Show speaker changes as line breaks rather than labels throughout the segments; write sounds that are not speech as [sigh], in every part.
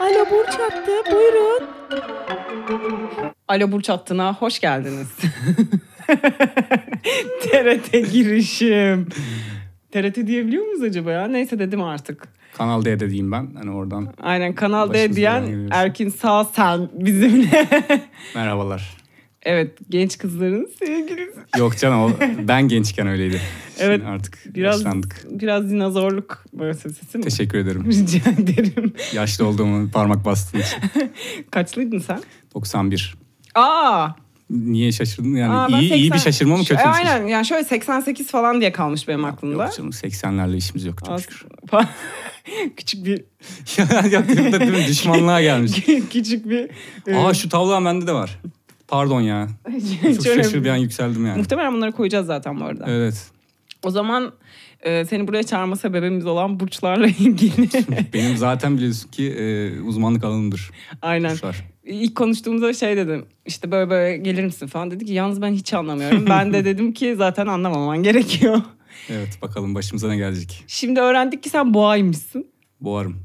Alo Burç attı. Buyurun. Alo Burç hattına hoş geldiniz. [laughs] TRT girişim. TRT diyebiliyor muyuz acaba ya? Neyse dedim artık.
Kanal D'de diyeyim ben. Hani oradan
Aynen Kanal D
Başımıza gelen
diyen
geliyorsun.
Erkin Sağ Sen bizimle. [laughs]
merhabalar.
evet genç kızların sevgilisi.
Yok canım o, ben gençken öyleydi. Şimdi
Evet,
artık
Biraz
yaşlandık.
biraz dinozorluk meselesi mi?
Teşekkür ederim.
[laughs] Rica ederim.
Yaşlı olduğumu parmak bastığın için.
Kaçlıydın sen?
91.
Aa!
Niye şaşırdın? Yani
Aa, ben
iyi, iyi bir
80
şaşırma mı kötü bir
E,
şaşırma?
Aynen yani şöyle 88 falan diye kalmış benim aklımda.
Yok canım 80'lerle işimiz yok çok şükür. [laughs]
Az- [laughs] küçük bir [laughs]
Ya, Yakında değil mi? Düşmanlığa gelmiş.
küçük bir e, [laughs]
Aa şu tavla bende de var. Pardon ya. Çok
şöyle-
şaşır bir an yükseldim yani.
Muhtemelen bunları koyacağız zaten bu arada.
Evet.
O zaman e, seni buraya çağırma sebebimiz olan burçlarla [laughs] ilgili.
[laughs] Benim zaten biliyorsun ki e, uzmanlık alanımdır.
Aynen.
Burçlar.
İlk konuştuğumuzda şey dedim. İşte böyle böyle gelir misin falan dedi ki yalnız ben hiç
[laughs]
anlamıyorum. ben de dedim ki zaten anlamaman gerekiyor.
Evet bakalım başımıza ne gelecek.
Şimdi öğrendik ki sen boğaymışsın.
Boğarım.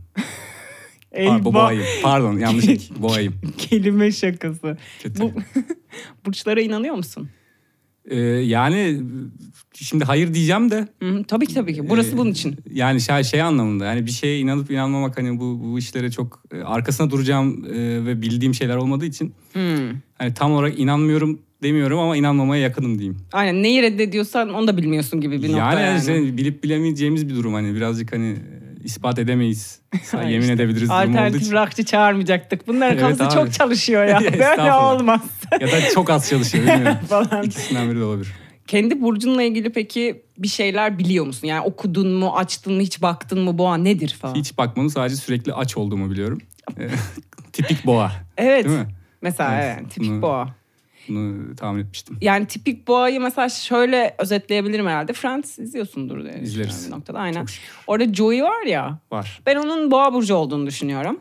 Eyvah.
Pardon, boğayım. Pardon yanlış ek. Boğayım.
[laughs] Kelime şakası.
Kötü.
Bu [laughs] burçlara inanıyor musun?
Ee, yani şimdi hayır diyeceğim de.
Hı hı, tabii ki tabii ki. Burası
e,
bunun için.
Yani şey, şey anlamında. Yani bir şeye inanıp inanmamak hani bu, bu işlere çok e, arkasına duracağım e, ve bildiğim şeyler olmadığı için.
Hı.
Hani tam olarak inanmıyorum demiyorum ama inanmamaya yakınım diyeyim.
Aynen neyi reddediyorsan onu da bilmiyorsun gibi bir
yani şey,
nokta yani.
işte bilip bilemeyeceğimiz bir durum hani birazcık hani e,
[laughs]
ispat edemeyiz.
Ay
yemin
işte,
edebiliriz durum olduğu
Alternatif
için.
rockçı çağırmayacaktık. Bunların
Evet
kafası
abi.
çok çalışıyor ya. Böyle
[laughs] Estağfurullah.
olmaz
Ya da çok az çalışıyor bilmiyorum.
[laughs] falan.
İkisinden biri de olabilir.
Kendi burcunla ilgili peki bir şeyler biliyor musun? Yani okudun mu, açtın mı, hiç baktın mı boğa nedir falan?
Hiç bakmadım sadece sürekli aç olduğumu biliyorum.
[laughs]
E, Tipik boğa
Evet.
değil mi?
Mesela
Evet.
evet, tipik
Bunu-
boğa.
Bunu tahmin etmiştim.
Yani tipik boğayı mesela şöyle özetleyebilirim herhalde. Friends izliyorsundur diye
İzleriz.
düşünüyorum bir noktada. Aynen.
Çok şükür.
Orada Joey var ya.
Var.
Ben onun boğa burcu olduğunu düşünüyorum.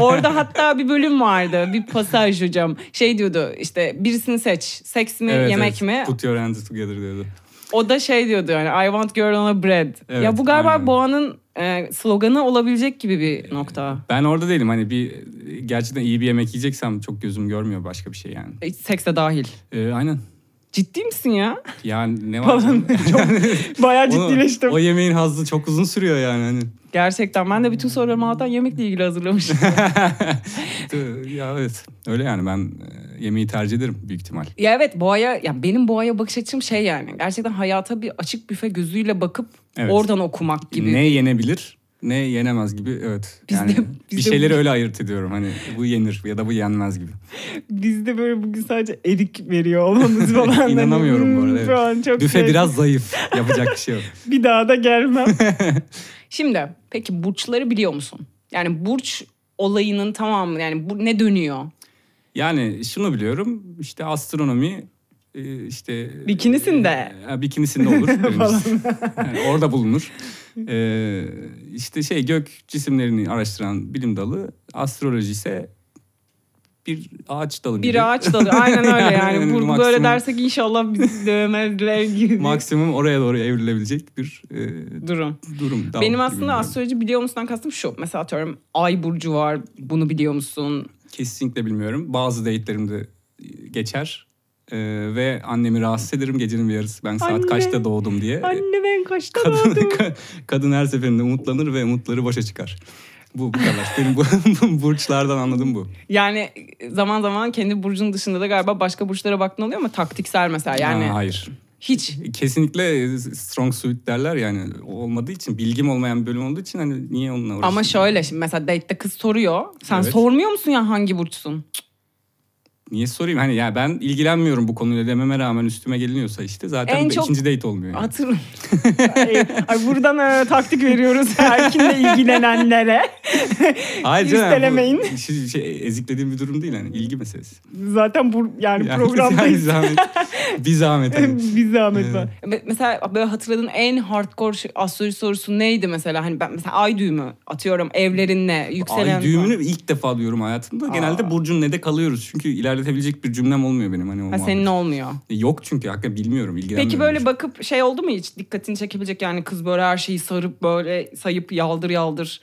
Orada hatta bir bölüm vardı. Bir pasaj hocam. Şey diyordu işte birisini seç. Seks mi
Evet,
yemek
evet.
mi?
Put your hands together diyordu.
O da şey diyordu yani I want girl on a bread.
Evet,
ya bu galiba
aynen.
boğanın e, sloganı olabilecek gibi bir nokta.
Ben orada değilim hani bir gerçekten iyi bir yemek yiyeceksem çok gözüm görmüyor başka bir şey yani.
E, Sekse dahil.
E, aynen.
Ciddi misin
[laughs]
ya?
Yani ne var? canım?
Bayağı
Onu-
[laughs] ciddileştim.
o yemeğin hazzı çok uzun sürüyor yani. Hani,
Gerçekten ben de bütün sorularımı hatta yemekle ilgili
[laughs]
hazırlamıştım.
Tı- ya evet öyle yani ben e, yemeği tercih ederim büyük ihtimal.
ya evet boğaya ya benim boğaya bakış açım şey yani. Gerçekten hayata bir açık büfe gözüyle bakıp
Evet.
oradan okumak gibi.
Ne yenebilir ne yenemez gibi evet.
Biz
yani
de- biz
bir
de-
şeyleri öyle ayırt ediyorum hani bu yenir ya da bu yenmez gibi.
Bizde böyle bugün sadece erik veriyor
[laughs]
olmamız falan. Hani hmm,
İnanamıyorum bu arada, evet.
an [laughs] çok şey-
Büfe biraz zayıf yapacak bir şey yok.
Bir daha da gelmem. Şimdi peki burçları biliyor musun? Yani burç olayının tamamı yani bu ne dönüyor?
[laughs] Yani şunu biliyorum işte astronomi e, işte
Bikinisinde.
E,
[laughs]
bikinisinde olur. birincisi. Yani orada bulunur. E, işte şey gök cisimlerini araştıran bilim dalı astroloji ise bir ağaç dalı gibi.
Bir ağaç dalı aynen öyle yani.
[laughs] Yani
Bu, böyle
maksimum-
dersek inşallah
[laughs]
bizi dövmezler gibi bir
Maksimum oraya doğru evrilebilecek bir e,
durum.
durum. dal
Benim
gibi
aslında
biliyorum.
astroloji biliyor musundan kastım şu. Mesela atıyorum ay burcu var bunu biliyor musun?
Kesinlikle bilmiyorum. Bazı date'lerimde geçer. E, ve annemi rahatsız ederim gecenin bir yarısı. Ben saat
Anne.
kaçta doğdum diye. [laughs]
ben kaçta
kadın, kadın her seferinde umutlanır ve umutları boşa çıkar. Bu bu kadar. Benim bu, [laughs] bu burçlardan anladım bu.
Yani e, zaman zaman kendi burcun dışında da galiba başka burçlara baktın oluyor ama taktiksel mesela yani.
Ha, hayır.
Hiç.
Kesinlikle e, strong suit derler yani olmadığı için bilgim olmayan bir bölüm olduğu için hani niye onunla uğraşayım?
Ama şöyle şimdi mesela date'te kız soruyor. Sen
Evet.
sormuyor musun ya hangi burçsun?
Niye sorayım? Hani ya ben ilgilenmiyorum bu konuyla dememe rağmen üstüme geliniyorsa işte zaten
En
de
çok-
ikinci date olmuyor. yani.
Hatır. [laughs] ay, ay buradan e, taktik [laughs] veriyoruz Erkin'le ilgilenenlere.
Hayır canım, bu
üstelemeyin.
şey, şey, eziklediğim bir durum değil hani ilgi meselesi.
Zaten bu yani,
Yani, [laughs] yani zahmet. bir zahmet. hani.
[laughs] bir zahmet
var.
Mesela böyle hatırladığın en hardcore şey- astroloji sorusu neydi mesela? Hani ben mesela ay düğümü atıyorum evlerin ne, yükselen
Ay düğümünü ilk defa diyorum hayatımda. Genelde Burcu'nun ne de kalıyoruz. Çünkü ilerletebilecek bir cümlem olmuyor benim. Hani o
Ha, senin olmuyor.
Yok çünkü hakikaten bilmiyorum. ilgilenmiyorum.
Peki böyle bakıp şey oldu mu hiç dikkatini çekebilecek yani kız böyle her şeyi sarıp böyle sayıp yaldır yaldır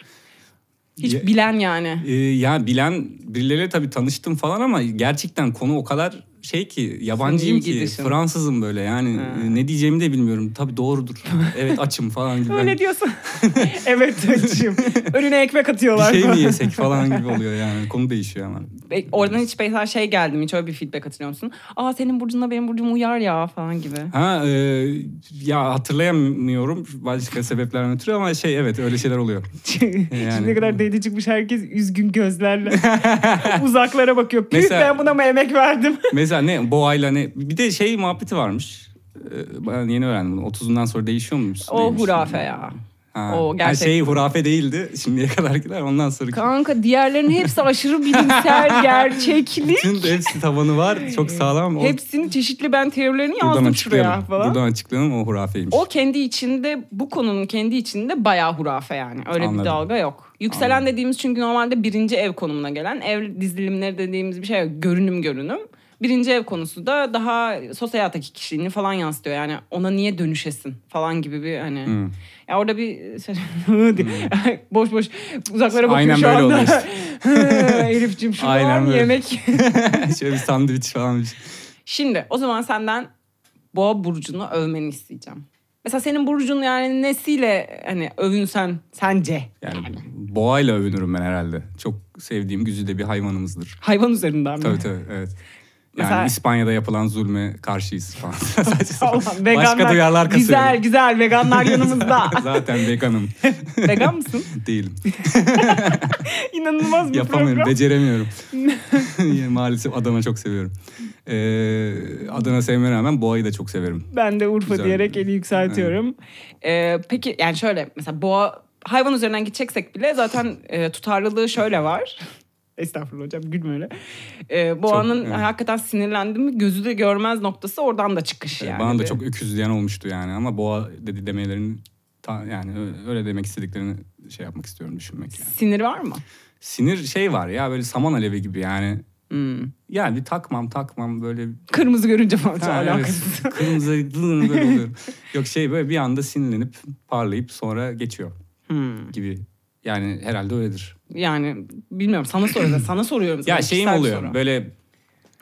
Hiç
Ya-
bilen yani.
Ee, ya bilen birileriyle tabii tanıştım falan ama gerçekten konu o kadar şey ki yabancıyım
ilgi
ki
dışın.
Fransızım böyle yani
Ha.
e, ne diyeceğimi de bilmiyorum.
[laughs]
Tabii doğrudur. Evet açım falan gibi. Hani
Öyle
Ben, [laughs]
diyorsun.
evet açayım. Önüne ekmek atıyorlar.
bir şey mi yesek falan gibi oluyor yani. Konu değişiyor hemen.
Be- Oradan hiç mesela şey geldim hiç öyle bir feedback hatırlıyor musun? Aa senin burcunla benim burcum uyar ya falan
[laughs]
gibi.
Ha e, ya hatırlayamıyorum başka sebeplerden ötürü ama şey evet öyle şeyler oluyor.
Şimdiye
Yani.
kadar date çıkmış herkes üzgün gözlerle.
[laughs]
Uzaklara bakıyor. Püh
Mesela-
ben buna mı emek verdim?
Mesela ne boğayla ne bir de şey muhabbeti varmış. Ee, Ben yeni öğrendim bunu. 30'undan sonra değişiyor muymuş?
O
Değilmiş.
hurafe ya.
Ha.
O
Ha,
gerçek.
şey hurafe değildi şimdiye kadarkiler ondan
[laughs]
sonra.
Kanka diğerlerinin hepsi aşırı
[laughs]
bilimsel, gerçekli.
Bütün hepsi tabanı var. Çok sağlam. O-
Hepsini çeşitli ben teorilerini
buradan
yazdım şuraya
açıklayalım.
falan.
Buradan açıklayalım o hurafeymiş.
O kendi içinde bu konunun kendi içinde bayağı hurafe yani. Öyle
Anladım.
bir dalga yok. Yükselen dediğimiz çünkü normalde birinci ev konumuna gelen ev dizilimleri dediğimiz bir şey yok. Görünüm görünüm. Birinci ev konusu da daha sosyal hayattaki kişiliğini falan yansıtıyor. Yani ona niye dönüşesin falan gibi bir hani.
Hı.
Ya orada bir şey- [laughs] boş boş uzaklara bakıyor
Hmm. Aynen
şu
böyle
anda.
oluyor
[laughs]
işte.
Elif'cim şu
Aynen
an
böyle.
yemek.
[laughs] Şöyle bir sandviç falan bir şey.
Şimdi o zaman senden boğa burcunu övmeni isteyeceğim. Mesela senin burcun yani nesiyle hani övünsen sence?
Yani boğayla övünürüm ben herhalde. Çok sevdiğim güzide bir hayvanımızdır.
Hayvan üzerinden mi?
Tabii tabii evet. Yani
Mesela-
İspanya'da yapılan zulme
[laughs]
karşıyız falan. Saçma sapan.
Allah'ım, veganlar.
Başka duyarlar
Güzel
kasıyorum.
güzel veganlar
[laughs]
yanımızda.
[laughs]
Zaten veganım
Vegan mısın?
değilim.
İnanılmaz bir
Yapamıyorum,
program.
[laughs]
beceremiyorum. [laughs] Yani Maalesef Adana çok seviyorum. Ee, Adana sevmeme rağmen boğayı da çok severim.
Ben de Urfa
Güzel.
diyerek eli yükseltiyorum.
Ee, peki yani şöyle mesela boğa hayvan üzerinden gideceksek bile zaten e, tutarlılığı şöyle var. [laughs]
Estağfurullah hocam gülme öyle.
Ee, boğanın
evet.
hakikaten sinirlendi mi gözü de görmez noktası oradan da çıkış yani.
Bana da
Bir-
çok öküzleyen olmuştu yani ama boğa dedi demelerini ta- yani ö- öyle demek istediklerini şey yapmak istiyorum düşünmek yani.
Sinir var mı?
Sinir şey var ya böyle saman alevi gibi yani.
Hmm.
Yani bir takmam takmam böyle.
Kırmızı görünce falan
Ha, evet.
alakası.
[laughs] Kırmızı
[laughs]
lı- böyle oluyorum. Yok şey böyle bir anda sinirlenip parlayıp sonra geçiyor
Hmm.
gibi. Yani herhalde öyledir.
Yani bilmiyorum sana
[clears throat]
soruyorum. sana soruyorum.
Ya
sana,
şeyim
kişisel bir
oluyor
soru.
böyle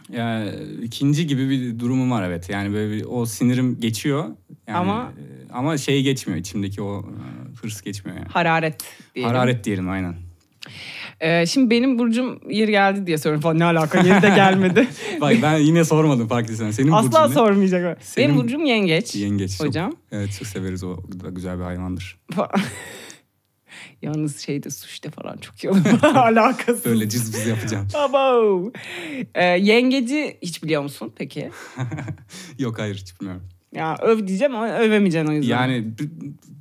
ya, ikinci gibi bir durumum var evet. Yani böyle bir, o sinirim geçiyor. Yani,
Ama-
e, ama şey geçmiyor içimdeki o e, hırs geçmiyor yani.
Hararet diyelim.
Hararet diyelim aynen.
Ee, şimdi benim burcum yeri geldi diye soruyorum falan. Ne alaka yeri de
[laughs]
gelmedi.
Bak ben yine sormadım fark etsen. Senin burcun
Asla
ne?
sormayacak. o.
Senin
benim burcum yengeç.
yengeç. Çok-
Hocam. [laughs]
evet çok severiz o da güzel bir hayvandır.
Fa- Yalnız şeyde suçte falan çok iyi olur.
[laughs] Alakası.
Böyle cız cız
[laughs]
yapacağım.
Abo.
Ee, yengeci hiç biliyor musun peki?
Yok hayır hiç bilmiyorum.
Ya öv diyeceğim ama övemeyeceksin o yüzden.
Yani bi-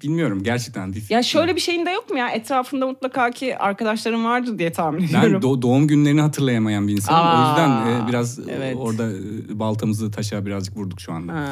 bilmiyorum gerçekten. Bir
Ya şöyle bir şeyin de yok mu ya? Etrafında mutlaka ki arkadaşların vardır diye tahmin
Ben
ediyorum.
do- doğum günlerini hatırlayamayan bir insanım. o
Aa,
yüzden e, biraz e,
evet.
orada e, baltamızı taşa birazcık vurduk şu anda.
Ha.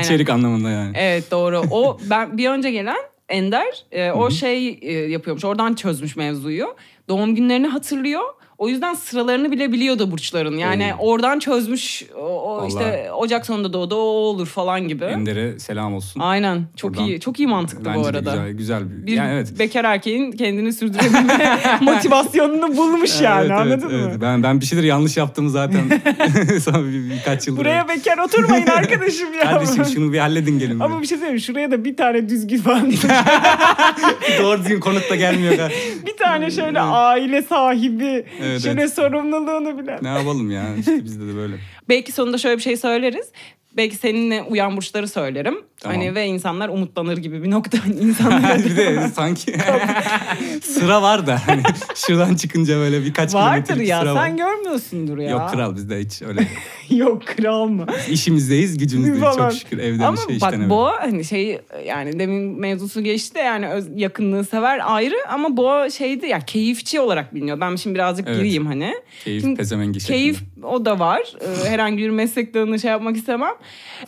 [laughs] İçerik anlamında yani.
Evet doğru.
[laughs]
O ben bir önce gelen Ender e, o şey e, yapıyormuş. Oradan çözmüş mevzuyu. Doğum günlerini hatırlıyor. O yüzden sıralarını bile biliyordu burçların. Yani oradan çözmüş. O, o
Vallahi.
işte Ocak sonunda doğdu o olur falan gibi.
Ender'e selam olsun.
Aynen. Çok
Buradan.
iyi. Çok iyi mantıklı
Bence
bu
de
arada.
güzel, güzel bir...
Bir
yani evet.
bekar erkeğin kendini
[laughs]
sürdürebilme
Motivasyonunu bulmuş [laughs] yani
Evet, evet,
anladın mı?
evet. Ben, ben bir şeyler yanlış
[laughs]
yaptım zaten. [laughs] Son bir, birkaç yıldır.
Buraya bekar oturmayın arkadaşım ya.
Kardeşim şunu bir halledin gelin.
Ama bir şey söyleyeyim şuraya da bir tane düzgün falan
[laughs] buraya. Doğru düzgün konut da gelmiyor. gar-
bir tane şöyle aile sahibi
Hmm, Evet,
şöyle sorumluluğunu bilen.
ne yapalım ya işte bizde de böyle.
Belki sonunda şöyle bir şey söyleriz. Belki seninle uyan burçları söylerim.
Tamam.
Hani ve insanlar umutlanır gibi bir nokta. [laughs] İnsanlar
[laughs]
[laughs]
bir de sanki sıra var da hani şuradan çıkınca böyle birkaç
Vardır
kilometrelik
ya
sıra var.
sen görmüyorsundur ya.
Yok
[laughs]
kral bizde hiç öyle.
Yok kral mı?
İşimizdeyiz gücümüzdeyiz
Falan.
çok şükür evden
Ama
işe işten
bak
eve.
boğa hani şey yani demin mevzusu geçti de yani öz- yakınlığı sever ayrı ama boğa şeydi ya keyifçi olarak biliniyor. Ben şimdi birazcık
Evet.
gireyim hani.
Keyif
Şimdi
pezevengi
Keyif
şeklinde.
o da var. Ee, herhangi bir meslek dalını şey yapmak istemem.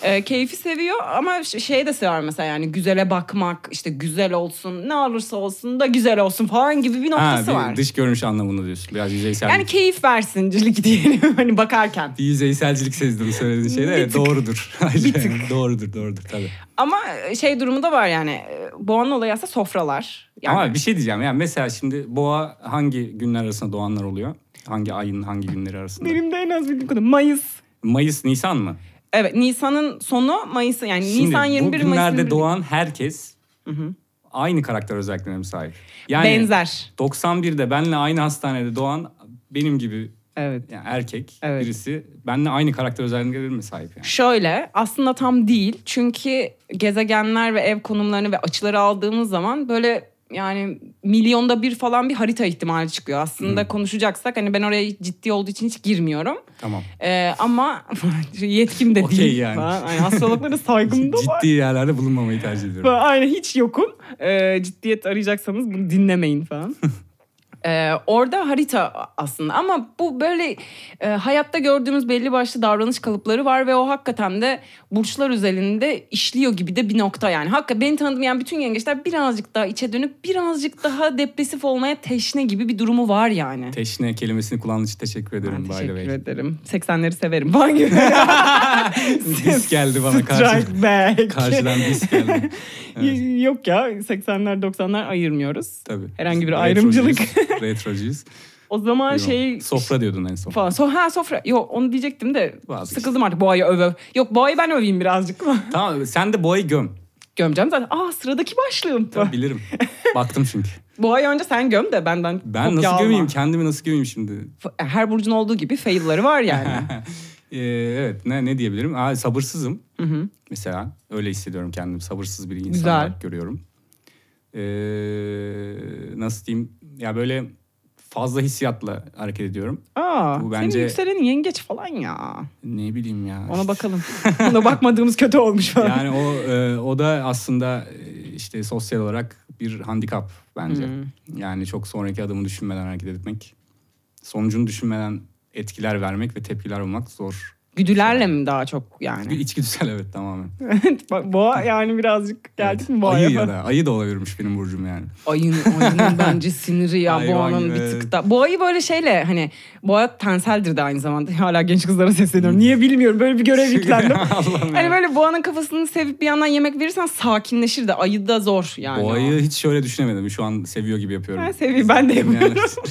Ee, keyfi seviyor ama ş- şey de sever mesela yani güzele bakmak işte güzel olsun ne olursa olsun da güzel olsun falan gibi bir
Ha,
noktası
bir
var.
dış görünüş anlamında diyorsun. Biraz yüzeysel.
Yani keyif versincilik [laughs] diyelim hani bakarken.
bir yüzeyselcilik sezdim söylediğin şeyde. Evet, doğrudur. doğrudur, doğrudur tabii.
e, Ama şey durumu da var yani. Boğanın olayı e, aslında sofralar. Yani
Ama bir şey diyeceğim. Yani mesela şimdi boğa hangi günler arasında doğanlar oluyor? Hangi ayın hangi günleri arasında?
Benim de en az bildiğim kadar Mayıs.
Mayıs, Nisan mı?
evet Nisan'ın sonu Mayıs'ı yani Nisan 21
bu
Mayıs 21
günlerde doğan herkes aynı karakter özelliklerine sahip. Yani
benzer.
91'de benle aynı hastanede doğan benim gibi
Evet.
yani erkek
Evet.
birisi benle aynı karakter özelliklerine mi sahip yani?
Şöyle aslında tam değil çünkü gezegenler ve ev konumlarını ve açıları aldığımız zaman böyle yani milyonda bir falan bir harita ihtimali çıkıyor. Aslında konuşacaksak hani ben oraya ciddi olduğu için hiç girmiyorum.
Tamam.
Ee, ama [laughs] yetkim de
Okey
değil.
yani.
falan. Yani
[laughs]
hastalıklara saygım da var.
Ciddi yerlerde bulunmamayı tercih ediyorum.
Ben Aynen hiç yokum. Ee, ciddiyet arayacaksanız bunu dinlemeyin falan. [laughs] Ee, orada harita aslında ama bu böyle e, hayatta gördüğümüz belli başlı davranış kalıpları var ve o hakikaten de burçlar özelinde işliyor gibi de bir nokta yani. Hakikaten beni tanıdığım bütün yengeçler birazcık daha içe dönüp birazcık daha depresif olmaya teşne gibi bir durumu var yani.
Teşne kelimesini kullandığın için teşekkür ederim.
Ben
by the
teşekkür [laughs]
way.
ederim. 80'leri severim. Falan gibi.
Dis geldi bana karşı.
Strike back.
[laughs]
Karşıdan dis geldi.
Y- Yok ya 80'ler 90'lar ayırmıyoruz.
Tabii.
Herhangi bir
[laughs]
ayrımcılık.
Retrocuyuz. Retrocuyuz.
O zaman
Yok.
şey
Sofra diyordun en son.
falan. So, ha sofra. Yok onu diyecektim de
Vazgeçtim.
sıkıldım artık boğayı öve. Yok boğayı ben öveyim birazcık. [laughs]
Tamam sen de boğayı göm.
Gömeceğim zaten. Aa sıradaki başlığım.
Tabii bilirim. Baktım çünkü.
Boğayı önce sen göm de benden
Ben
kopya
nasıl
alma.
gömeyim? Kendimi nasıl gömeyim şimdi?
F- e, Her burcun olduğu gibi fail'ları var
[laughs]
yani.
Ee, evet ne ne diyebilirim? Aa, sabırsızım. Mesela öyle hissediyorum kendimi. Sabırsız bir insan
Güzel.
olarak görüyorum. Ee, nasıl diyeyim? Ya böyle fazla hissiyatla hareket ediyorum.
Aa
Bu
senin
bence-
yükselenin yengeç falan ya.
Ne bileyim ya. [laughs]
Ona bakalım.
Buna bakmadığımız kötü olmuş falan.
Yani o e, o da aslında e, işte sosyal olarak bir handikap bence. Yani çok sonraki adımı düşünmeden hareket etmek. Sonucunu düşünmeden etkiler vermek ve tepkiler olmak zor.
Güdülerle mi daha çok yani? [laughs]
İçgüdüsel evet tamamen.
Bak, boğa yani birazcık geldik
Evet.
mi
Ayı
boğaya?
ya da ayı da olabilirmiş benim burcum yani.
Ayın, ayının
[laughs]
bence siniri ya
Hayvan
boğanın
gibi,
bir tık
evet.
da. Boğayı böyle şeyle hani boğa tenseldir de aynı zamanda. [laughs] Hala genç kızlara sesleniyorum. Niye bilmiyorum böyle bir
Şey-
görev
[laughs]
yüklendim.
Allah'ım ya.
Hani böyle boğanın kafasını sevip bir yandan yemek verirsen sakinleşir de ayı da zor yani. [laughs]
Boğayı hiç şöyle düşünemedim. Şu an seviyor gibi yapıyorum.
Ben seviyorum, ben de yapıyorum.
Yani- [laughs]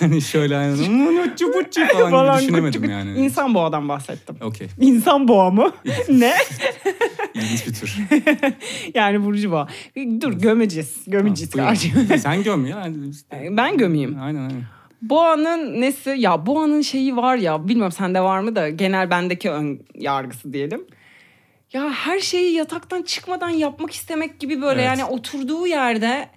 hani şöyle hani "Hmm, uçu buçu"
o. [laughs]
falan,
Falan
gibi düşünemedim
küçük-
yani.
İnsan boğadan bahsettim.
Okey.
İnsan boğa
[laughs]
[laughs]
mı? ne?
ilginç bir tür.
Yani Burcu boğa. Dur gömeceğiz. Gömeceğiz
Buyurun.
kardeşim.
[laughs] Sen göm ya.
[laughs]
Aynen
Ben gömeyim.
aynen.
Boğanın nesi? Ya boğanın şeyi var ya. Bilmiyorum sende var mı da genel bendeki ön yargısı diyelim. Ya her şeyi yataktan çıkmadan yapmak istemek gibi böyle
Evet.
yani oturduğu yerde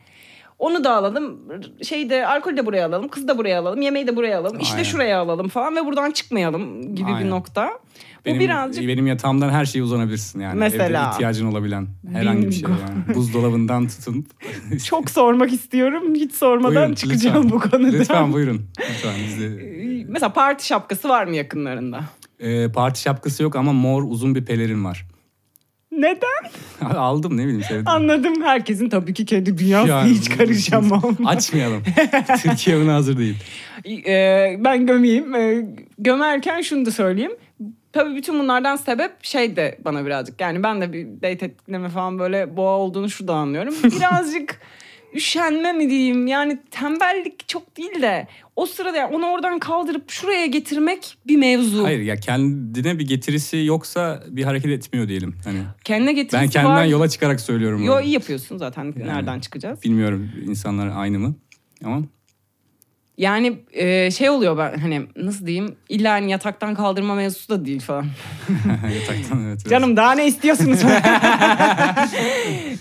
onu da alalım. Şeyi de alkol de buraya alalım. Kızı da buraya alalım. Yemeği de buraya alalım. işte
Aynen.
şuraya alalım falan ve buradan çıkmayalım gibi bir
Aynen.
nokta. Bu
Benim, e,
birazcık
benim yatağımdan her şeye uzanabilirsin yani.
Mesela.
Evde ihtiyacın olabilen herhangi bir şey
Bingo.
yani.
[laughs]
Buzdolabından tutun.
Çok sormak istiyorum. Hiç sormadan
Buyurun,
çıkacağım
lütfen.
bu konudan.
Lütfen buyurun. Lütfen bizi.
[laughs] mesela parti şapkası var mı yakınlarında?
Ee, parti şapkası yok ama mor uzun bir pelerin var.
Neden?
Aldım ne bileyim sevdim.
Anladım. Herkesin tabii ki kendi dünyası
Yani
hiç
bu-
karışamam.
[laughs] Açmayalım. Türkiye buna hazır değil.
Ee, ben gömeyim. Ee, gömerken şunu da söyleyeyim. Tabii bütün bunlardan sebep şey de bana birazcık. Yani ben de bir date etkileme falan böyle boğa olduğunu şuradan
[laughs]
anlıyorum. Birazcık üşenme mi diyeyim yani tembellik çok değil de o sırada yani onu oradan kaldırıp şuraya getirmek bir mevzu.
Hayır ya kendine bir getirisi yoksa bir hareket etmiyor diyelim. Hani
Kendine getirisi
ben kendimden
var.
yola çıkarak söylüyorum.
Yo
bunu.
iyi yapıyorsun zaten nereden çıkacağız?
Bilmiyorum insanlar aynı mı? Ama
Yani e, şey oluyor ben hani nasıl diyeyim illa hani yataktan kaldırma mevzusu da değil falan.
yataktan evet. biraz.
Canım daha ne
[laughs]
istiyorsunuz?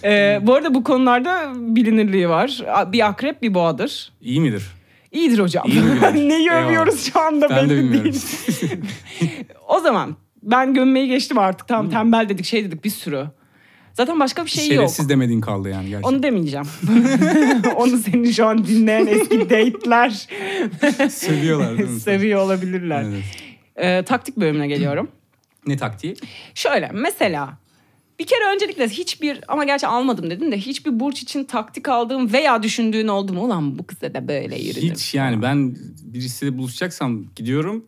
Ee, bu arada bu konularda bilinirliği var. A- Bir akrep bir boğadır.
İyi midir?
İyidir hocam. [laughs]
İyi midir?
Neyi
Eyvallah.
övüyoruz şu anda
Ben de
belli
bilmiyorum.
değil.
[laughs]
o zaman ben gömmeyi geçtim artık. Tamam tembel dedik şey dedik bir sürü. Zaten başka bir şey yok.
Şerefsiz demediğin kaldı yani gerçekten.
Onu demeyeceğim. [laughs]
Onu senin şu an dinleyen eski date'ler
[laughs]
[laughs]
Seviyorlar değil mi?
seviyor olabilirler.
Evet.
Ee, taktik bölümüne geliyorum.
Ne taktiği?
Şöyle mesela bir kere öncelikle hiçbir ama gerçi almadım dedim de hiçbir burç için taktik aldığım veya düşündüğün oldu mu? Ulan bu kıza da böyle yürüdüm.
Hiç yani ben birisiyle buluşacaksam gidiyorum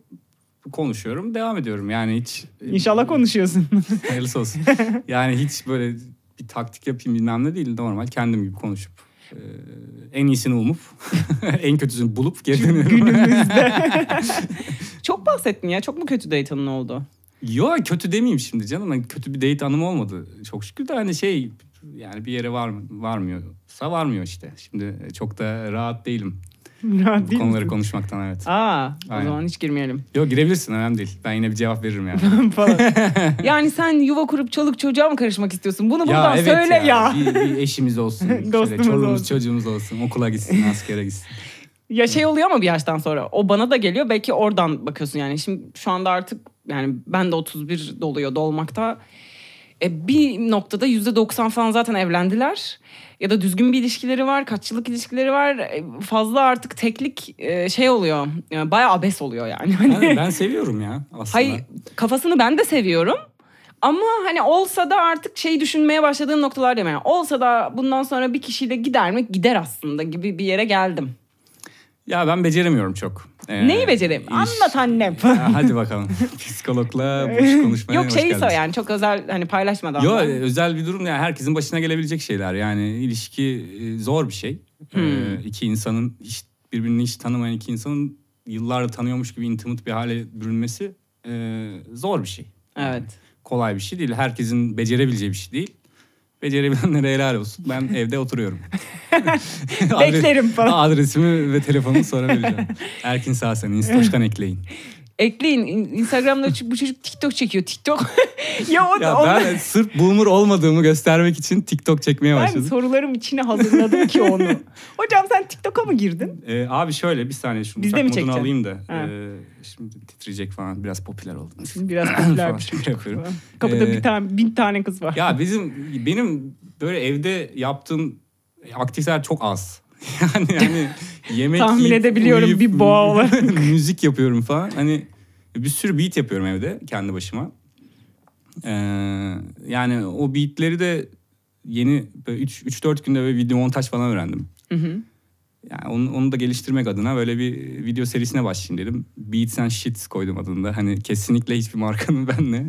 konuşuyorum devam ediyorum yani hiç
İnşallah konuşuyorsun.
hayırlısı olsun yani hiç böyle bir taktik yapayım bilmem ne değil normal kendim gibi konuşup Ee, en iyisini umup, [laughs] en kötüsünü bulup geri dönüyorum. [laughs]
Günümüzde.
[laughs] Çok bahsettin ya. Çok mu kötü date'ın oldu?
Yo kötü demeyeyim şimdi canım. Hani kötü bir date anım olmadı. Çok şükür de hani şey yani bir yere var varmıyorsa varmıyor işte. Şimdi çok da rahat değilim
Rahat
bu
değil
konuları
misin?
konuşmaktan evet.
Aa,
Aynen.
o zaman hiç girmeyelim.
Yo girebilirsin önemli değil. Ben yine bir cevap veririm
[laughs]
yani.
falan.
Yani sen yuva kurup çoluk çocuğa mı karışmak istiyorsun? Bunu buradan
evet
söyle ya.
Bir, bir eşimiz olsun. şöyle
Dostumuz
çoluğumuz
olsun.
çocuğumuz olsun. Okula gitsin, askere gitsin.
Ya şey oluyor ama bir yaştan sonra. O bana da geliyor. Belki oradan bakıyorsun yani. Şimdi şu anda artık yani ben de 31 doluyor dolmakta. E, bir noktada %90 falan zaten evlendiler. Ya da düzgün bir ilişkileri var, kaç yıllık ilişkileri var. E, fazla artık teklik e, şey oluyor. Yani bayağı abes oluyor yani. Hani-
Yani ben seviyorum ya aslında.
[laughs] Hayır kafasını ben de seviyorum. Ama hani olsa da artık şey düşünmeye başladığım noktalar demeye. Olsa da bundan sonra bir kişiyle gider mi? Gider aslında gibi bir yere geldim.
Ya ben beceremiyorum çok. Ee,
Neyi becereyim?
iş-
Anlat annem.
Ya
[laughs]
hadi bakalım. Psikologla boş konuşmaya
Yok şey
hoş
şeyi
geldiniz.
sor yani çok özel hani paylaşmadan.
Yo
da.
e, özel bir durum ya herkesin başına gelebilecek şeyler yani ilişki e, zor bir şey.
Hmm.
iki insanın hiç, birbirini hiç tanımayan iki insanın yıllardır tanıyormuş gibi intimate bir hale bürünmesi e, zor bir şey.
Evet.
Kolay bir şey değil. Herkesin becerebileceği bir şey değil. Becerebilenlere helal olsun.
[laughs]
Ben evde oturuyorum. Adres-
Beklerim falan.
Adresimi ve telefonumu sonra vereceğim. Erkin
[laughs]
Sağsen, Instagram ekleyin.
Ekleyin in- Instagram'da ç- bu çocuk TikTok çekiyor TikTok. [laughs]
ya o
Ya
da ben,
ben sırf boomer olmadığımı göstermek için TikTok çekmeye
ben
başladım.
sorularım içine hazırladım ki onu. Hocam sen TikTok'a mı girdin?
Ee, abi şöyle bir saniye şunu
Biz de mi
modunu
çekeceksin?
alayım da.
Ha.
ee, şimdi titreyecek falan biraz popüler oldum.
Biraz
[laughs] Falan
popüler bir şey.
şöyle yapıyorum.
Kapıda
Ee,
bir tane bin tane kız var.
Ya bizim benim böyle evde yaptığım aktiviteler çok az. [laughs] Yani yani yemek
Tahmin
yiyip,
edebiliyorum
uyuyup,
bir boğa olarak.
[laughs] müzik yapıyorum falan. Hani bir sürü beat yapıyorum evde kendi başıma. Ee, yani o beatleri de yeni 3-4 günde böyle video montaj falan öğrendim. Yani onu, onu da geliştirmek adına böyle bir video serisine başlayayım dedim. Beats and Shits koydum adında. Hani kesinlikle hiçbir markanın [laughs] benle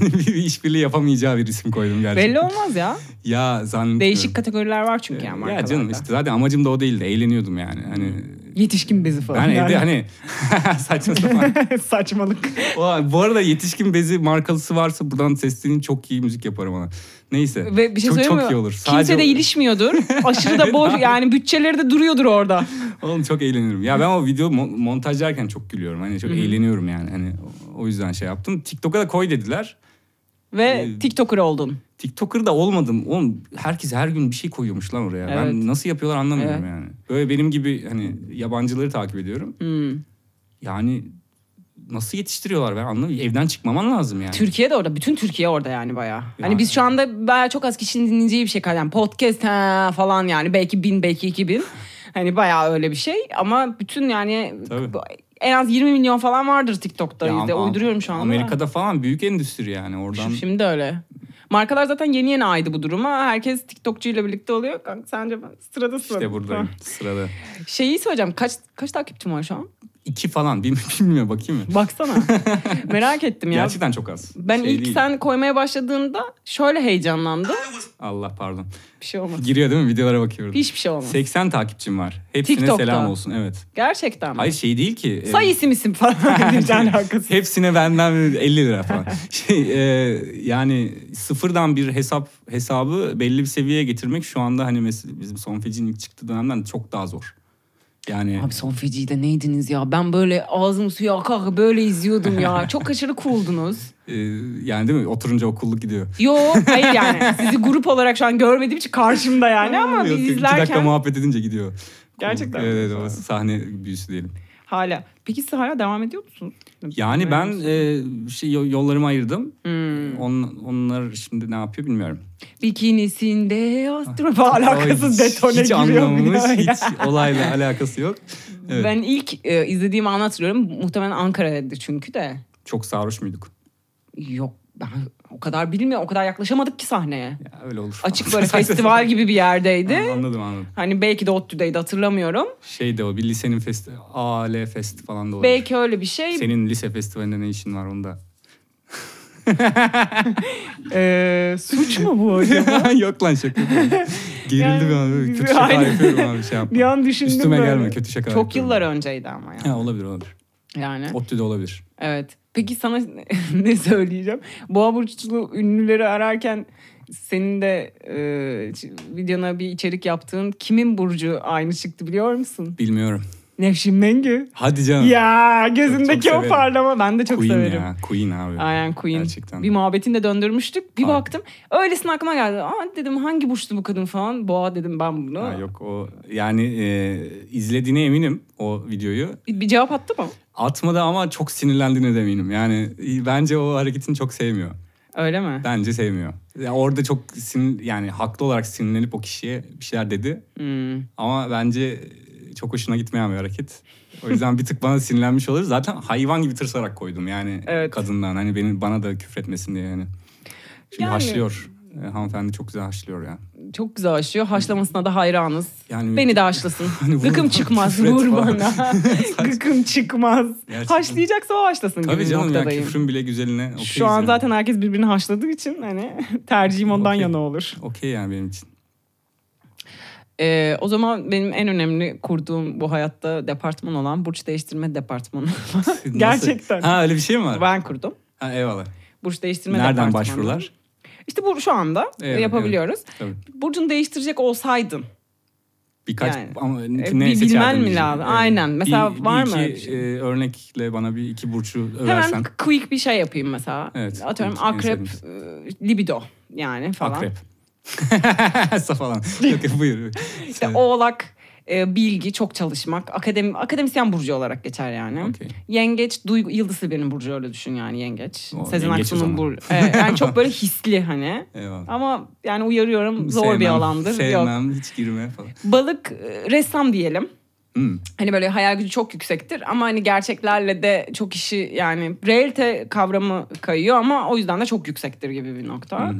hani bir işbirliği yapamayacağı bir isim koydum gerçekten.
Belli olmaz ya.
Ya zannetmiyorum.
Değişik kategoriler var çünkü yani
Ee, Ya canım
markalarda.
işte zaten amacım da o değildi. Eğleniyordum yani. Hani
Yetişkin bezi falan.
ben evde
Yani.
[laughs]
hani [laughs] saçma sapan.
Saçmalık.
O- bu arada yetişkin bezi markalısı varsa buradan seslenin çok iyi müzik yaparım ona. Neyse.
Ve bir şey
çok,
söyleyeyim
çok
mi?
iyi olur.
Kimse
Sadece-
de [laughs] ilişmiyordur. Aşırı da boş yani bütçeleri de duruyordur orada.
Oğlum çok eğlenirim. Ya ben o video mo- montajlarken çok gülüyorum. Hani çok eğleniyorum yani. Hani o- o yüzden şey yaptım. TikTok'a da koy dediler.
Ve
Ee,
TikToker oldun.
TikToker da olmadım. Oğlum herkes her gün bir şey koyuyormuş lan oraya.
Evet.
Ben nasıl yapıyorlar anlamıyorum
Evet.
yani. Böyle benim gibi hani yabancıları takip ediyorum.
Hmm.
Yani nasıl yetiştiriyorlar ben anlamıyorum. Evden çıkmaman lazım yani.
Türkiye de orada. Bütün Türkiye orada yani bayağı.
Yani.
Hani biz şu anda bayağı çok az kişinin dinleyeceği bir şey kaldı. Yani podcast ha falan yani. Belki bin belki iki bin. Hani bayağı öyle bir şey. Ama bütün yani
Tabii.
en az 20 milyon falan vardır TikTok'ta.
Ya
izle.
ama-
Uyduruyorum şu anda.
Amerika'da falan büyük endüstri yani oradan.
Şimdi öyle. Markalar zaten yeni yeni aydı bu duruma. Herkes TikTokçuyla birlikte oluyor. Kanka sence ben sırada sırada.
işte buradayım sırada.
Şeyi söyleyeceğim. Kaç kaç takipçim var şu an?
İki falan bil- [laughs] bilmiyorum bakayım mı?
Baksana.
[laughs]
Merak ettim ya.
Gerçekten çok az.
ben
Şey
ilk
değil.
sen koymaya başladığında şöyle heyecanlandım.
Allah pardon.
Bir şey olmadı.
Giriyor değil mi videolara bakıyorum.
Hiçbir şey olmadı.
80 takipçim var. Hepsine
TikTok'ta.
selam olsun evet.
Gerçekten mi?
Hayır şey değil ki. e,
Say isim
[laughs]
isim
[laughs]
falan.
Hiç alakası.
Hepsine benden 50
[laughs]
lira falan. Şey, e, yani sıfırdan bir hesap hesabı belli bir seviyeye getirmek şu anda hani mes- bizim son fecinin ilk çıktığı dönemden çok daha zor. Yani
Abi son feci'de neydiniz ya? Ben böyle ağzım suya akar böyle izliyordum
[laughs]
ya. Çok aşırı cool'dunuz.
e, yani değil mi? Oturunca okulluk gidiyor.
Yo hayır yani. Sizi grup olarak şu an görmediğim için karşımda yani ama
Yok,
biz
iki dakika
izlerken
muhabbet edince gidiyor.
Gerçekten mi?
Evet, evet, o sahne büyüsü diyelim.
hala. Peki siz hala devam ediyor musunuz?
Yani ben
Bilmiyorum.
e, şey yo- yollarımı ayırdım.
Hmm.
Hmm.
On- onlar şimdi ne yapıyor bilmiyorum.
Bikinisinde astro
Alakasız
Ah. Ay, hiç-
detone
hiç
giriyor bir
anlamamış,
daha ya.
hiç
[laughs]
olayla alakası yok. Evet.
Ben ilk e, izlediğimi anlatıyorum. Muhtemelen Ankara'daydı çünkü de.
Çok sarhoş muyduk?
Yok ben o kadar bilmiyorum. O kadar yaklaşamadık ki sahneye.
Ya öyle olur. [laughs]
Açık böyle festival gibi bir
Ha,
yerdeydi.
Anladım anladım.
Hani belki de ODTÜ'deydi hatırlamıyorum.
Şey de o bir lisenin festi AL fest falan da olur.
Belki öyle bir şey.
Senin lise festivalinde ne işin var onda?
[laughs]
Ee, suç mu bu hocam?
[laughs] yok lan şaka. yapıyorum. Gerildi bir an.
Yani-
[laughs]
Kötü şaka
Aynen.
yapıyorum abi şey yapma.
Bir an düşündüm
Üstüme
böyle.
gelme kötü şaka
Çok
yapıyorum.
yıllar önceydi ama yani.
Ha, olabilir olabilir.
Yani
ODTÜ'de olabilir.
evet. Peki sana [laughs] ne söyleyeceğim? Boğa burçlu ünlüleri ararken senin de e, ç- videona bir içerik yaptığın kimin burcu aynı çıktı biliyor musun?
Bilmiyorum.
Nevşin Mengü.
Hadi canım.
Ya
Çok
gözündeki
severim.
o parlama.
Ben de çok
Queen
severim.
ya. Queen abi.
Aynen Queen.
Gerçekten.
Bir muhabbetini de döndürmüştük. Bir
Aynen.
baktım. Öylesine aklıma geldi. Aa dedim hangi burçlu bu kadın falan. Boğa dedim ben bunu.
Ha, yok o yani e, izlediğine eminim o videoyu.
Bir, bir cevap attı mı?
Atmadı ama çok sinirlendiğine de eminim. Yani e, bence o hareketini çok sevmiyor.
Öyle mi?
Bence sevmiyor. Ya orada çok sinir, yani haklı olarak sinirlenip o kişiye bir şeyler dedi.
Hmm.
Ama bence e, çok hoşuna gitmeyen bir hareket. O yüzden bir tık bana sinirlenmiş olur. Zaten hayvan gibi tırsarak koydum yani
Evet.
kadından. Hani beni bana da küfretmesin diye yani. Çünkü
Yani-
haşlıyor. E, hanımefendi çok güzel haşlıyor yani.
Çok güzel haşlıyor. Haşlamasına da hayranız.
Yani
Beni de haşlasın.
Hmm. [laughs] Hani vur-
Gıkım çıkmaz.
küfret
Vur
falan.
bana.
[laughs]
Gıkım çıkmaz.
Gerçekten.
Haşlayacaksa o haşlasın
Tabii
gibi
canım ya
noktadayım.
küfrün bile güzeline okeyiz
Şu an
yani.
zaten herkes birbirini haşladığı için hani tercihim ondan
Okey.
yana olur.
Okey yani
[laughs]
benim için.
Ee, o zaman benim en önemli kurduğum bu hayatta departman olan burç değiştirme departmanı
[laughs] Nasıl-
Gerçekten.
Ha öyle bir şey mi var?
ben kurdum.
Ha eyvallah.
Burç değiştirme
Nereden
departmanı.
başvurular?
İşte bu şu anda
Evet,
yapabiliyoruz.
Tabii.
Burcunu değiştirecek olsaydın
Birkaç
Yani.
ama ne
E, bil-
seçerdin
bilmen mi
diyeceğim.
lazım?
E,
Aynen. Mesela
bir-
var
bir
mı öyle bir
iki,
şey?
e, örnekle bana bir iki burcu
Hemen
översen.
quick bir şey yapayım mesela.
Evet,
Atıyorum
quick, en şey.
akrep, e, libido yani falan.
Akrep. [laughs] Safalan. Yok yok, buyur. buyur.
İşte oğlak, e, bilgi, çok çalışmak. Akademi, akademisyen burcu olarak geçer yani.
Okey.
Yengeç, duygu, yıldızı benim burcu öyle düşün yani yengeç.
O,
Sezen
yengeç o
Aksu'nun
zaman.
burcu. Evet, yani çok böyle hisli
[laughs]
hani.
Eyvallah.
Ama yani uyarıyorum zor bir
Sevmem,
alandır. Yok.
Sevmem hiç girme falan.
Balık, e, ressam diyelim.
Hmm.
Hani böyle hayal gücü çok yüksektir ama hani gerçeklerle de çok işi yani realite kavramı kayıyor ama o yüzden de çok yüksektir gibi bir nokta.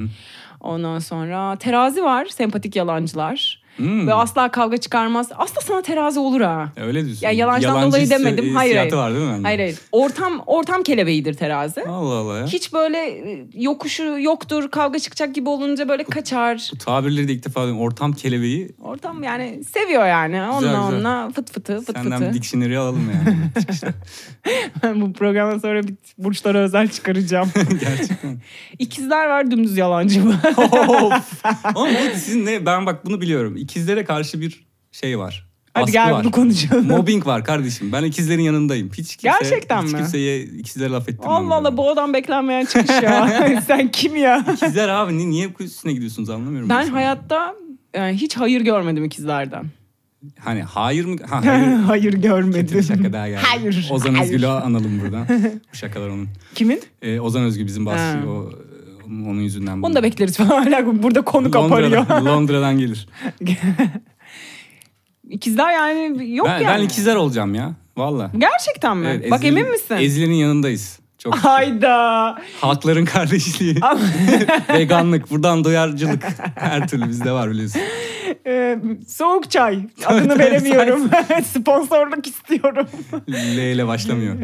Ondan sonra terazi var sempatik yalancılar
Hmm.
ve asla kavga çıkarmaz. Aslında sana terazi olur ha.
Öyle diyorsun.
Ya yalancıdan dolayı
hissi-
demedim. Hayır,
hissiyatı
hayır.
var değil mi? bende?
Hayır hayır ortam ortam kelebeğidir terazi.
Allah Allah ya.
Hiç böyle e, yokuşu yoktur kavga çıkacak gibi olunca böyle kaçar.
Bu tabirleri de ilk defa duydum. Ortam kelebeği
Ortam yani seviyor yani onunla
güzel.
onunla fıt fıtı fıt
senden
fıtı. [laughs]
bir dictionary alalım yani.
Ben bu programdan sonra bir burçlara özel çıkaracağım.
[laughs] Gerçekten.
[laughs] İkizler var dümdüz yalancı var.
Of. Ama bu sizin ne? Ben bak bunu biliyorum. İkizlere karşı bir şey var.
Hadi
Baskı
gel
var.
bunu konuşalım.
Mobbing var kardeşim. Ben ikizlerin yanındayım. Hiç kimse,
Gerçekten
hiç
mi?
kimseye ikizlere laf ettirmem.
Allah
ben.
Allah boğadan beklenmeyen çıkış
[laughs]
ya.
ya sen kim ya?
İkizler abi ni- niye üstüne gidiyorsunuz anlamıyorum.
ben
sana.
hayatta e, hiç hayır görmedim ikizlerden.
Hani hayır mı? Ha,
[laughs]
hayır.
Hayır
Kötü bir
görmedim.
şaka daha geldi.
Hayır,
Ozan
hayır.
Özgül'ü
[laughs]
analım buradan. Bu şakalar onun.
Kimin?
Ee, Ozan Özgül bizim
Ha.
bahsediyor. O, onun yüzünden.
Onu da bekleriz falan. [laughs]
Hala burada konu kaparıyor.
Londra'dan, [laughs] Londra'dan gelir.
İkizler yani yok
ben,
yani.
ben ikizler olacağım ya. Valla.
Gerçekten mi?
Evet,
Bak
Ezgi'nin-
emin misin?
Ezgi'nin yanındayız. Çok
Hayda.
Halkların kardeşliği. [laughs] Veganlık. Buradan duyarcılık. Her türlü bizde var biliyorsun.
Ee, soğuk
[laughs]
çay. Adını
tabii,
veremiyorum. Sponsorluk istiyorum.
L ile başlamıyor.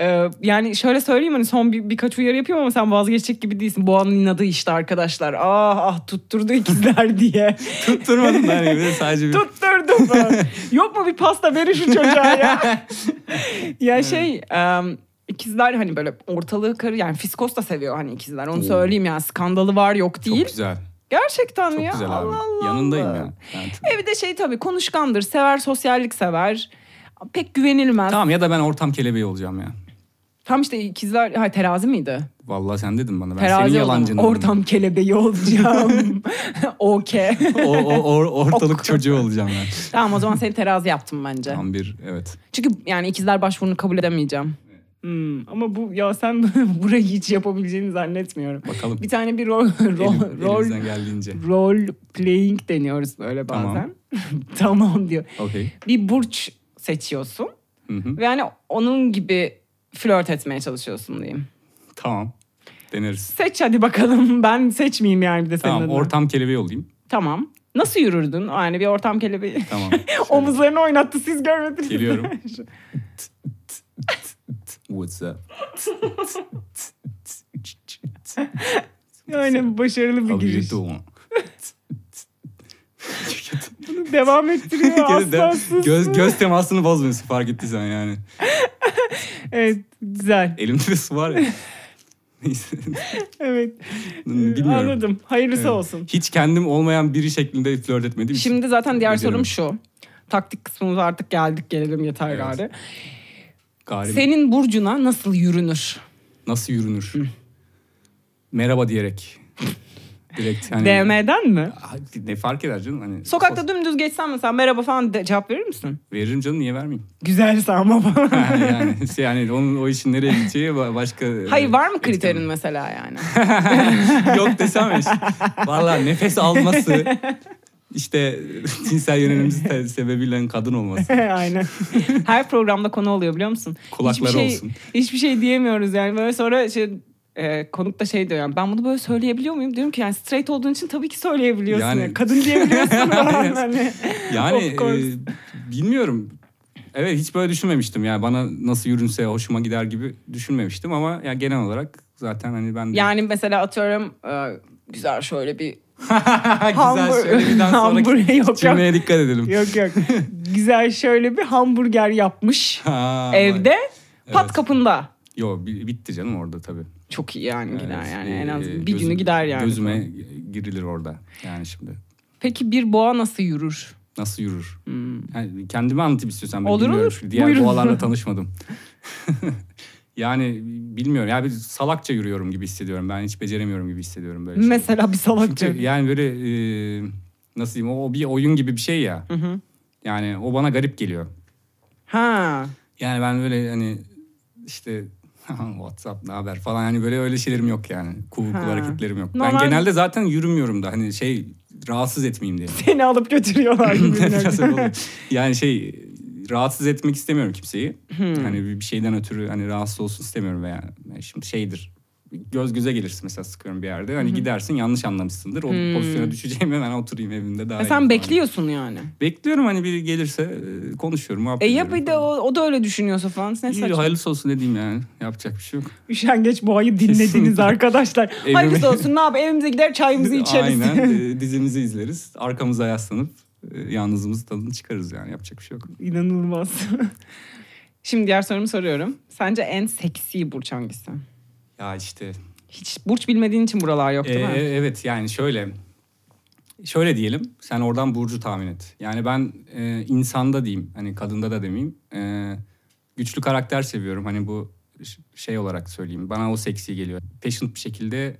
Ee, yani şöyle söyleyeyim hani son bir, birkaç uyarı yapıyorum ama sen vazgeçecek gibi değilsin. Boğanın inadı işte arkadaşlar. Ah ah tutturdu ikizler [laughs] diye.
Tutturmadım ben evi. Sadece bir...
Tutturdum ben.
[laughs] yok mu bir pasta verin şu çocuğa ya. [laughs] ya şey em, ikizler hani böyle ortalığı karı yani fiskos da seviyor hani ikizler. Onu
Oo.
söyleyeyim ya skandalı var yok
Çok
değil.
güzel.
Gerçekten
Çok
ya.
güzel abi.
Allah Allah
Yanındayım
Allah.
ya. Yani t-
E bir de şey tabii konuşkandır, sever, sosyallik sever. Pek güvenilmez. Tam,
Tamam ya da ben ortam kelebeği olacağım ya.
işte ikizler, ha terazi miydi?
Vallahi sen dedin bana. Ben
terazi
senin
o zaman.
yalancınım.
Ortam kelebeği olacağım. [laughs] Okey.
O, o- o- ortalık çocuğu olacağım ben.
tamam o zaman seni terazi yaptım bence.
Tam bir evet.
Çünkü yani ikizler başvurunu kabul edemeyeceğim.
Hmm, ama bu ya
[laughs]
sen burayı hiç yapabileceğini zannetmiyorum.
Bakalım.
Bir tane bir rol
Elim-
rol rol,
elimizden geldiğince.
rol playing deniyoruz böyle
Tamam.
bazen.
[laughs]
Tamam, diyor.
Okey.
Bir burç seçiyorsun
Hı hı.
ve yani onun gibi flört etmeye çalışıyorsun diyeyim.
Tamam. Deneriz.
Seç hadi
[laughs]
bakalım. Ben seçmeyeyim yani bir de senin
Tamam
adına.
ortam kelebeği olayım.
Tamam. Nasıl yürürdün? Yani bir ortam
[laughs]
kelebeği. [laughs]
Tamam.
Omuzlarını oynattı siz görmediniz.
Geliyorum. What's up?
yani başarılı bir
How you
giriş.
doing? hareketi.
Bunu
[laughs]
devam ettiriyor aslansız.
göz, göz temasını bozmuyorsun fark ettiysen yani.
Evet güzel.
Elimde de su
[laughs]
var ya. Neyse.
Evet.
Bilmiyorum.
Anladım. Hayırlısı
Evet.
olsun.
Hiç kendim olmayan biri şeklinde flört etmediğim için.
Şimdi zaten diğer
Beceremedim.
sorum şu. Taktik kısmımıza artık geldik gelelim yeter
Evet.
gari.
Gari
Senin burcuna nasıl yürünür?
nasıl yürünür? Merhaba diyerek. Direkt hani.
DM'den mi?
Ay, Ne fark eder canım? Hani,
Sokakta dümdüz geçsen mesela merhaba falan de- cevap verir misin?
Veririm canım niye vermeyeyim? [laughs]
Güzelse ama falan.
yani, yani, şey, yani onun o işin nereye gideceği ba- başka...
[laughs] Hayır var mı
etken-
kriterin mesela yani?
[laughs] Yok desem iş. Valla nefes alması,
[laughs]
işte [laughs] cinsel yönelimimiz te- sebebiyle kadın olması.
Aynen.
[laughs] Her programda konu oluyor biliyor musun?
Kulakları
hiçbir şey,
olsun.
Hiçbir şey diyemiyoruz yani. Böyle sonra şey, e, konuk da şey diyor yani ben bunu böyle söyleyebiliyor muyum? Diyorum ki yani straight olduğun için tabii ki söyleyebiliyorsun.
Yani-
Yani. Kadın diyebiliyorsun.
[laughs]
falan hani.
Yani
Of course.
e, bilmiyorum. Evet hiç böyle düşünmemiştim. Yani bana nasıl yürünse hoşuma gider gibi düşünmemiştim ama yani genel olarak zaten hani ben de...
yani mesela atıyorum e, güzel şöyle bir
[laughs] güzel
Hamburg- [laughs]
söylemeden
Hamburg- yok,
sonraki
yok.
[laughs] cümleye dikkat edelim.
Yok yok. Güzel şöyle bir hamburger yapmış.
[laughs] Ha, vay.
evde pat
Evet.
kapında.
Yo bi- bitti canım orada tabii.
Çok iyi yani gider
Evet,
yani
e,
en az bir
gözüm-
günü gider yani.
Gözüme girilir orada yani şimdi.
Peki bir boğa nasıl yürür?
Nasıl yürür? Hmm. Yani kendimi anlatayım istiyorsan. Ben
Olur,
bilmiyorum.
olur.
Çünkü Diğer
Buyurun. [laughs]
boğalarla tanışmadım. [laughs] yani bilmiyorum. Yani bir salakça yürüyorum gibi hissediyorum. Ben hiç beceremiyorum gibi hissediyorum böyle şeyleri.
Mesela bir salakça.
Çünkü yani böyle e, nasıl diyeyim o bir oyun gibi bir şey ya. Yani o bana garip geliyor.
Ha.
Yani ben böyle hani işte [laughs] WhatsApp ne haber falan hani böyle öyle şeylerim yok yani. Kuvuklu
Ha.
hareketlerim yok.
Normal-
Ben genelde zaten yürümüyorum da hani şey rahatsız etmeyeyim diye.
Seni alıp götürüyorlar
[laughs]
gibi.
Biraz öyle oluyor. yani şey rahatsız etmek istemiyorum kimseyi. Hani bir bir şeyden ötürü hani rahatsız olsun istemiyorum veya yani şimdi şeydir. Göz göze gelirsin mesela sıkıyorum bir yerde. Hani gidersin yanlış anlamışsındır. O pozisyona düşeceğim hemen oturayım evimde daha
E sen
iyi falan.
bekliyorsun yani.
Bekliyorum hani biri gelirse e, konuşuyorum. muhabbet
E ya
ediyorum
bir de o, o da öyle düşünüyorsa falan. Ne
İyi
saçma.
hayırlısı olsun dediğim yani. Yapacak bir şey yok.
Üşengeç
[laughs]
boğayı dinlediniz
Kesinlikle.
arkadaşlar.
Evime-
Hayırlısı olsun ne yap evimize gider çayımızı içeriz. [laughs]
Aynen. e, dizimizi izleriz. Arkamıza yaslanıp e, yalnızlığımızın tadını çıkarız yani. Yapacak bir şey yok.
İnanılmaz.
[laughs] Şimdi diğer sorumu soruyorum. Sence en seksi burç hangisi?
Ya işte.
Hiç burç bilmediğin için buralar yok değil
e,
mi?
evet yani şöyle. Şöyle diyelim. Sen oradan Burcu tahmin et. Yani ben e, insanda diyeyim. Hani kadında da demeyeyim. E, güçlü karakter seviyorum. Hani bu ş- şey olarak söyleyeyim. Bana o seksi geliyor. Passionate bir şekilde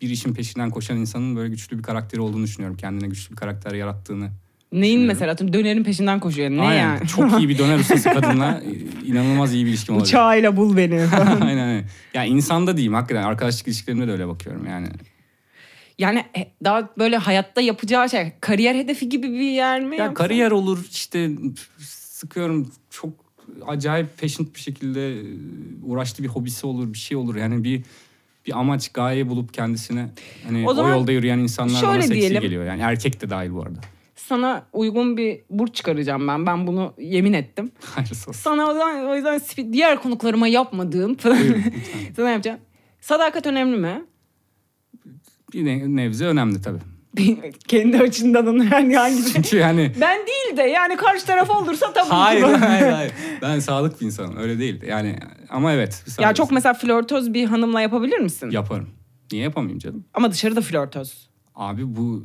bir işin peşinden koşan insanın böyle güçlü bir karakteri olduğunu düşünüyorum. Kendine güçlü bir karakter yarattığını
Neyin mesela atıyorum dönerin peşinden koşuyor. Ne
Aynen.
yani? [laughs]
Çok iyi bir döner ustası kadınla e, inanılmaz iyi bir ilişkim olabilir.
Uçağıyla bul beni.
[laughs] Aynen aynen. Ya insanda diyeyim hakikaten arkadaşlık ilişkilerimde de öyle bakıyorum yani.
Yani e, daha böyle hayatta yapacağı şey kariyer hedefi gibi bir yer mi?
Ya
yoksa-
kariyer olur işte sıkıyorum çok acayip passionate bir şekilde e, uğraştığı bir hobisi olur bir şey olur yani bir bir amaç gaye bulup kendisine hani
O
o,
zaman
yolda yürüyen insanlar bana
şöyle
seksi
diyelim.
geliyor yani erkek de dahil bu arada. [laughs]
Sana uygun bir burç çıkaracağım ben. Ben bunu yemin ettim.
Hayırlısı olsun.
Sana o yüzden, o yüzden spi- diğer konuklarıma yapmadığım [laughs] falan.
Buyurun,
Sana yapacağım. Sadakat önemli mi? [laughs]
Bir ne- nebze önemli tabii. [laughs]
Kendi açından onu yani hangisi?
Çünkü yani
şey? [laughs] Ben değil de yani karşı taraf olursa tabii
Hayır
ki. bu.
hayır hayır. Ben sağlık bir insanım öyle değil. Yani ama evet.
Ya
sağlık-
çok mesela flörtöz bir hanımla yapabilir misin?
Yaparım. Niye yapamayayım canım?
Ama dışarıda flörtöz.
Abi bu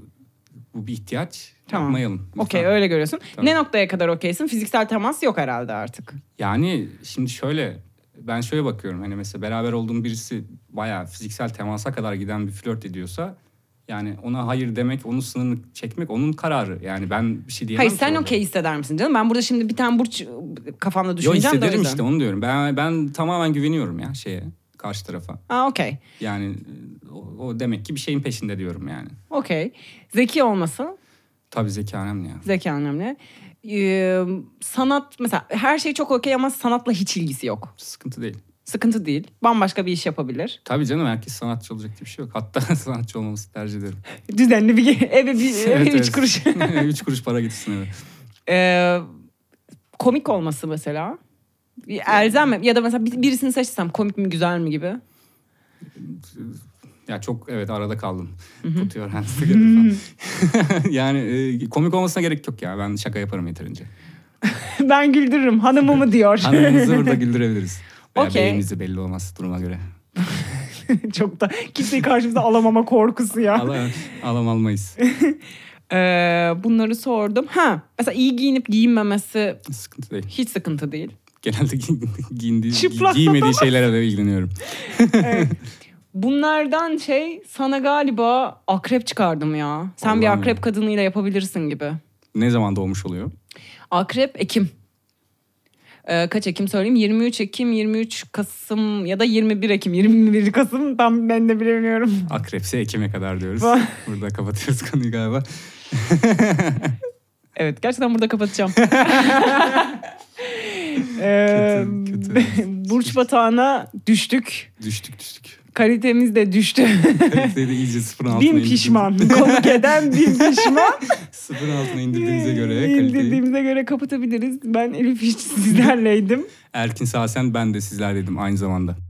bu bir ihtiyaç.
Tamam.
Yapmayalım. lütfen.
Okey öyle görüyorsun.
Tamam.
Ne noktaya kadar okeysin? Fiziksel temas yok herhalde artık.
Yani şimdi şöyle ben şöyle bakıyorum hani mesela beraber olduğum birisi bayağı fiziksel temasa kadar giden bir flört ediyorsa yani ona hayır demek, onun sınırını çekmek onun kararı. Yani ben bir şey diyemem.
Hayır
ki
sen
orada.
okey hisseder misin canım? Ben burada şimdi bir tane burç e, kafamda
Yo
düşüneceğim de o
hissederim
yüzden.
işte onu diyorum. Ben ben tamamen güveniyorum ya şeye, karşı tarafa.
Aa okey.
Yani o, o demek ki bir şeyin peşinde diyorum yani.
Okey. Zeki olması.
Tabii zeka önemli ya.
Zeki önemli. Ee, sanat mesela her şey çok okey ama sanatla hiç ilgisi yok.
Sıkıntı değil.
Sıkıntı değil. Bambaşka bir iş yapabilir.
Tabii canım herkes sanatçı olacak diye bir şey yok. Hatta [laughs] sanatçı olmamızı tercih ederim.
Düzenli
[laughs]
bir ge- eve bir eve
Evet,
üç
evet.
kuruş.
[laughs] üç kuruş para gitsin eve.
Ee, komik olması mesela. Elzem mi? Ya da mesela bir- birisini seçsem komik mi güzel mi gibi.
Ya çok evet arada kaldım. Put your hands together falan.
Hmm.
[laughs] yani e, komik olmasına gerek yok ya. Ben şaka yaparım yeterince.
[laughs] ben güldürürüm hanımı mı diyor.
Hanımımızı burada güldürebiliriz. Veya
Okey.
beyimizi belli olmaz duruma göre.
[laughs] Çok da kimseyi karşımıza alamama korkusu ya.
Ala, alam almayız.
Ee, bunları sordum. Ha mesela iyi giyinip giyinmemesi
Sıkıntı değil.
hiç sıkıntı değil.
Genelde gi- [laughs] giyindiği,
Çıplak
giymediği şeylere de ilgileniyorum.
Bunlardan şey sana galiba akrep çıkardım ya. Sen bir
Allah'ım.
akrep kadınıyla yapabilirsin gibi.
Ne zaman doğmuş oluyor?
Akrep Ekim. Ee, kaç Ekim söyleyeyim? 23 Ekim, 23 Kasım ya da 21 Ekim. 20...
21 Kasım tam ben de bilemiyorum.
Akrepse Ekim'e kadar diyoruz.
Vay.
Burada kapatıyoruz konuyu galiba.
Evet gerçekten burada
[laughs]
kapatacağım.
Ee,
Kötü,
[laughs] Burç batağına düştük. [laughs]
Düştük düştük.
Kalitemiz de düştü. [laughs]
Kaliteyi de iyice sıfırın altına
bin
indirdiğimiz- [laughs]
pişman. Konuk eden bin pişman.
Sıfırın altına indirdiğimize göre kaliteyi.
İndirdiğimize göre kapatabiliriz. Ben Elif hiç sizlerleydim.
Erkin Sasen ben de sizler dedim aynı zamanda.